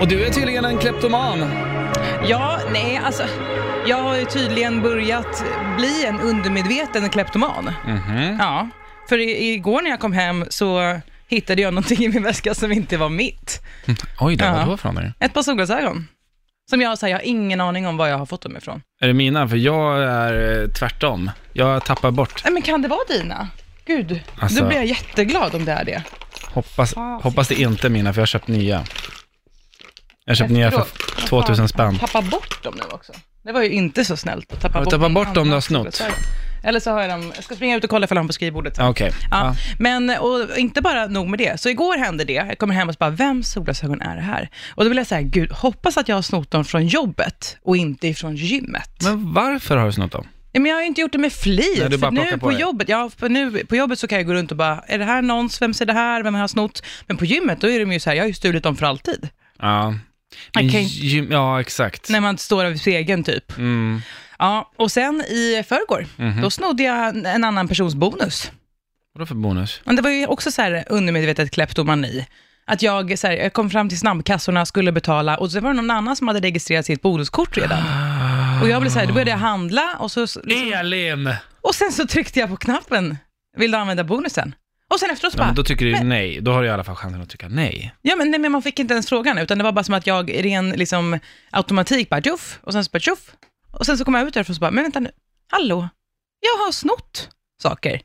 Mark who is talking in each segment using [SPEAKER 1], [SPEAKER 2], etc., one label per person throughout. [SPEAKER 1] Och du är tydligen en kleptoman.
[SPEAKER 2] Ja, nej, alltså. Jag har ju tydligen börjat bli en undermedveten kleptoman.
[SPEAKER 1] Mm. Mhm.
[SPEAKER 2] Ja, för i, igår när jag kom hem så hittade jag någonting i min väska som inte var mitt.
[SPEAKER 1] Oj då,
[SPEAKER 2] Ja.
[SPEAKER 1] vadå för någonting?
[SPEAKER 2] Ett par solglasögon. Som jag, så här, jag har ingen aning om var jag har fått dem ifrån.
[SPEAKER 1] Är det mina? För jag är eh, tvärtom. Jag tappar bort.
[SPEAKER 2] Nej, men kan det vara dina? Gud,
[SPEAKER 1] Alltså-
[SPEAKER 2] då blir jag jätteglad om det är det.
[SPEAKER 1] Hoppas, hoppas det inte är mina, för jag har köpt nya. Jag har köpt nya för
[SPEAKER 2] Efteråt.
[SPEAKER 1] 2000 spänn.
[SPEAKER 2] Tappa bort dem nu också. Det var ju inte så snällt att tappa
[SPEAKER 1] Har du
[SPEAKER 2] bort
[SPEAKER 1] tappat
[SPEAKER 2] någon
[SPEAKER 1] bort dem du har
[SPEAKER 2] annans
[SPEAKER 1] snott?
[SPEAKER 2] solglasögon. Eller så har jag dem, jag ska springa ut och kolla ifall jag har dem på skrivbordet sen.
[SPEAKER 1] Ja, Okej.
[SPEAKER 2] Ja.
[SPEAKER 1] Ja.
[SPEAKER 2] Men och inte bara nog med det. Så igår hände det. Jag kommer hem och så bara, vems solglasögon är det här? Och då vill jag säga, gud, hoppas att jag har snott dem från jobbet och inte ifrån gymmet. Men,
[SPEAKER 1] Men varför har du snott dem?
[SPEAKER 2] men jag har ju inte gjort det med flit.
[SPEAKER 1] Nej, du bara
[SPEAKER 2] för nu
[SPEAKER 1] plockar
[SPEAKER 2] på,
[SPEAKER 1] på dig.
[SPEAKER 2] jobbet, ja, för nu på jobbet så kan jag gå runt och bara, är det här någons? Vems är det här? Vem har jag snott? Men på gymmet, då är de ju så här, jag har ju stulit dem för alltid.
[SPEAKER 1] Ja. Men
[SPEAKER 2] Okej.
[SPEAKER 1] gym- ja, exakt.
[SPEAKER 2] När man står över spegeln typ.
[SPEAKER 1] Mm.
[SPEAKER 2] Ja, och sen i förrgår,
[SPEAKER 1] Mhm.
[SPEAKER 2] då snodde jag en- en annan persons bonus.
[SPEAKER 1] Vadå för bonus?
[SPEAKER 2] Men det var ju också så här undermedvetet kleptomani. Att jag, så här, jag kom fram till snabbkassorna, skulle betala och så var det någon annan som hade registrerat sitt bonuskort redan. Och jag blev så här, då började jag handla och, så,
[SPEAKER 1] Elin!
[SPEAKER 2] och sen så tryckte jag på knappen, vill du använda bonusen? Och sen efteråt så
[SPEAKER 1] Ja,
[SPEAKER 2] bara,
[SPEAKER 1] men då tycker du ju nej. Då har du i alla fall chansen att tycka nej.
[SPEAKER 2] ja men, nej, men man fick inte ens frågan, utan det var bara som att jag i ren liksom, automatik bara tjoff, och sen så bara tjoff. Och sen så kom jag ut därifrån och så bara, men vänta nu, hallå, jag har snott saker.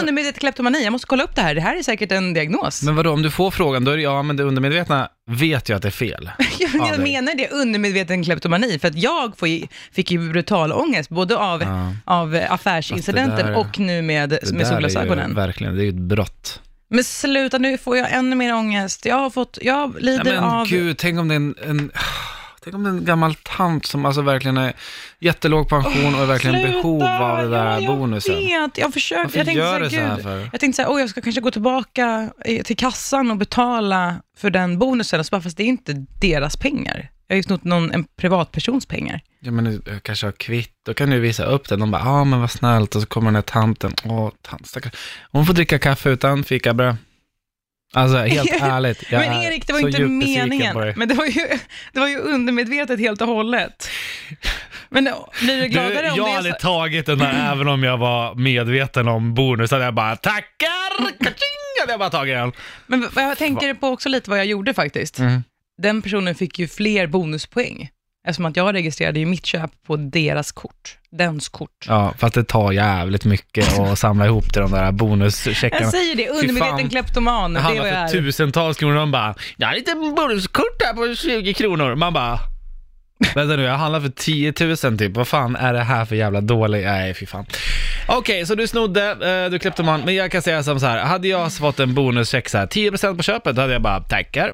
[SPEAKER 2] Undermedvetet kleptomani, jag måste kolla upp det här, det här är säkert en diagnos.
[SPEAKER 1] Men vadå, om du får frågan, då är det ja, men det undermedvetna vet ju att det är fel.
[SPEAKER 2] Ja, men
[SPEAKER 1] Ja,
[SPEAKER 2] jag
[SPEAKER 1] det-
[SPEAKER 2] menar det, undermedveten kleptomani, för att jag får ju, fick ju brutal ångest, både av,
[SPEAKER 1] Ja.
[SPEAKER 2] av affärsincidenten
[SPEAKER 1] Fast det där-
[SPEAKER 2] och nu med,
[SPEAKER 1] Det
[SPEAKER 2] med
[SPEAKER 1] där Är ju,
[SPEAKER 2] solglasögonen.
[SPEAKER 1] verkligen, det är ju ett brott.
[SPEAKER 2] Men sluta, nu får jag ännu mer ångest. Jag har fått, jag lider
[SPEAKER 1] Nej, men
[SPEAKER 2] av...
[SPEAKER 1] gud, tänk om det är en, en, tänk om det är en gammal tant som alltså verkligen är jättelåg pension och är verkligen i
[SPEAKER 2] Sluta,
[SPEAKER 1] behov av den där
[SPEAKER 2] ja, jag
[SPEAKER 1] bonusen.
[SPEAKER 2] Vet, jag försökte,
[SPEAKER 1] Varför
[SPEAKER 2] jag tänkte
[SPEAKER 1] gör du
[SPEAKER 2] så här,
[SPEAKER 1] så här
[SPEAKER 2] gud.
[SPEAKER 1] för?
[SPEAKER 2] Jag tänkte så här, oh, jag ska kanske gå tillbaka eh, till kassan och betala för den bonusen. Och så bara, fast det är inte deras pengar. Jag har ju snott någon, en privatpersons pengar.
[SPEAKER 1] Ja, men du- jag kanske har kvitt, då kan du visa upp den. De bara, ja ah, men vad snällt. Och så kommer den här tanten, åh tant, stackars. Hon får dricka kaffe utan fikabröd. Alltså helt ärligt, jag
[SPEAKER 2] men
[SPEAKER 1] är
[SPEAKER 2] Erik, det var
[SPEAKER 1] så
[SPEAKER 2] inte
[SPEAKER 1] djupt besviken
[SPEAKER 2] meningen.
[SPEAKER 1] på dig.
[SPEAKER 2] Men det var, ju, det var ju undermedvetet helt och hållet. Men eh, blir du gladare om det är så?
[SPEAKER 1] tagit den här även om jag var medveten om bonusen. Jag bara tackar, kaching, hade jag bara tagit den.
[SPEAKER 2] Men vad jag tänker på också lite vad jag gjorde faktiskt.
[SPEAKER 1] Mm.
[SPEAKER 2] Den personen fick ju fler bonuspoäng. Eftersom att jag registrerade ju mitt köp på deras kort. Dens kort.
[SPEAKER 1] Ja, fast det tar jävligt mycket att samla ihop till de där bonuscheckarna.
[SPEAKER 2] Jag säger det,
[SPEAKER 1] fan.
[SPEAKER 2] undermedveten kleptoman. Det
[SPEAKER 1] Det
[SPEAKER 2] är vad
[SPEAKER 1] handlar
[SPEAKER 2] jag
[SPEAKER 1] för
[SPEAKER 2] är.
[SPEAKER 1] tusentals kronor och de bara “Jag har lite bonuskort här på 20 kronor” Man bara “Vänta nu, jag handlar för 10 000 typ, vad fan är det här för jävla dålig...” Nej, fy fan. Okej, så du snodde, eh, du klippte man, men jag kan säga som så här, hade jag fått en bonuscheck så här 10% på köpet, då hade jag bara “Tackar”.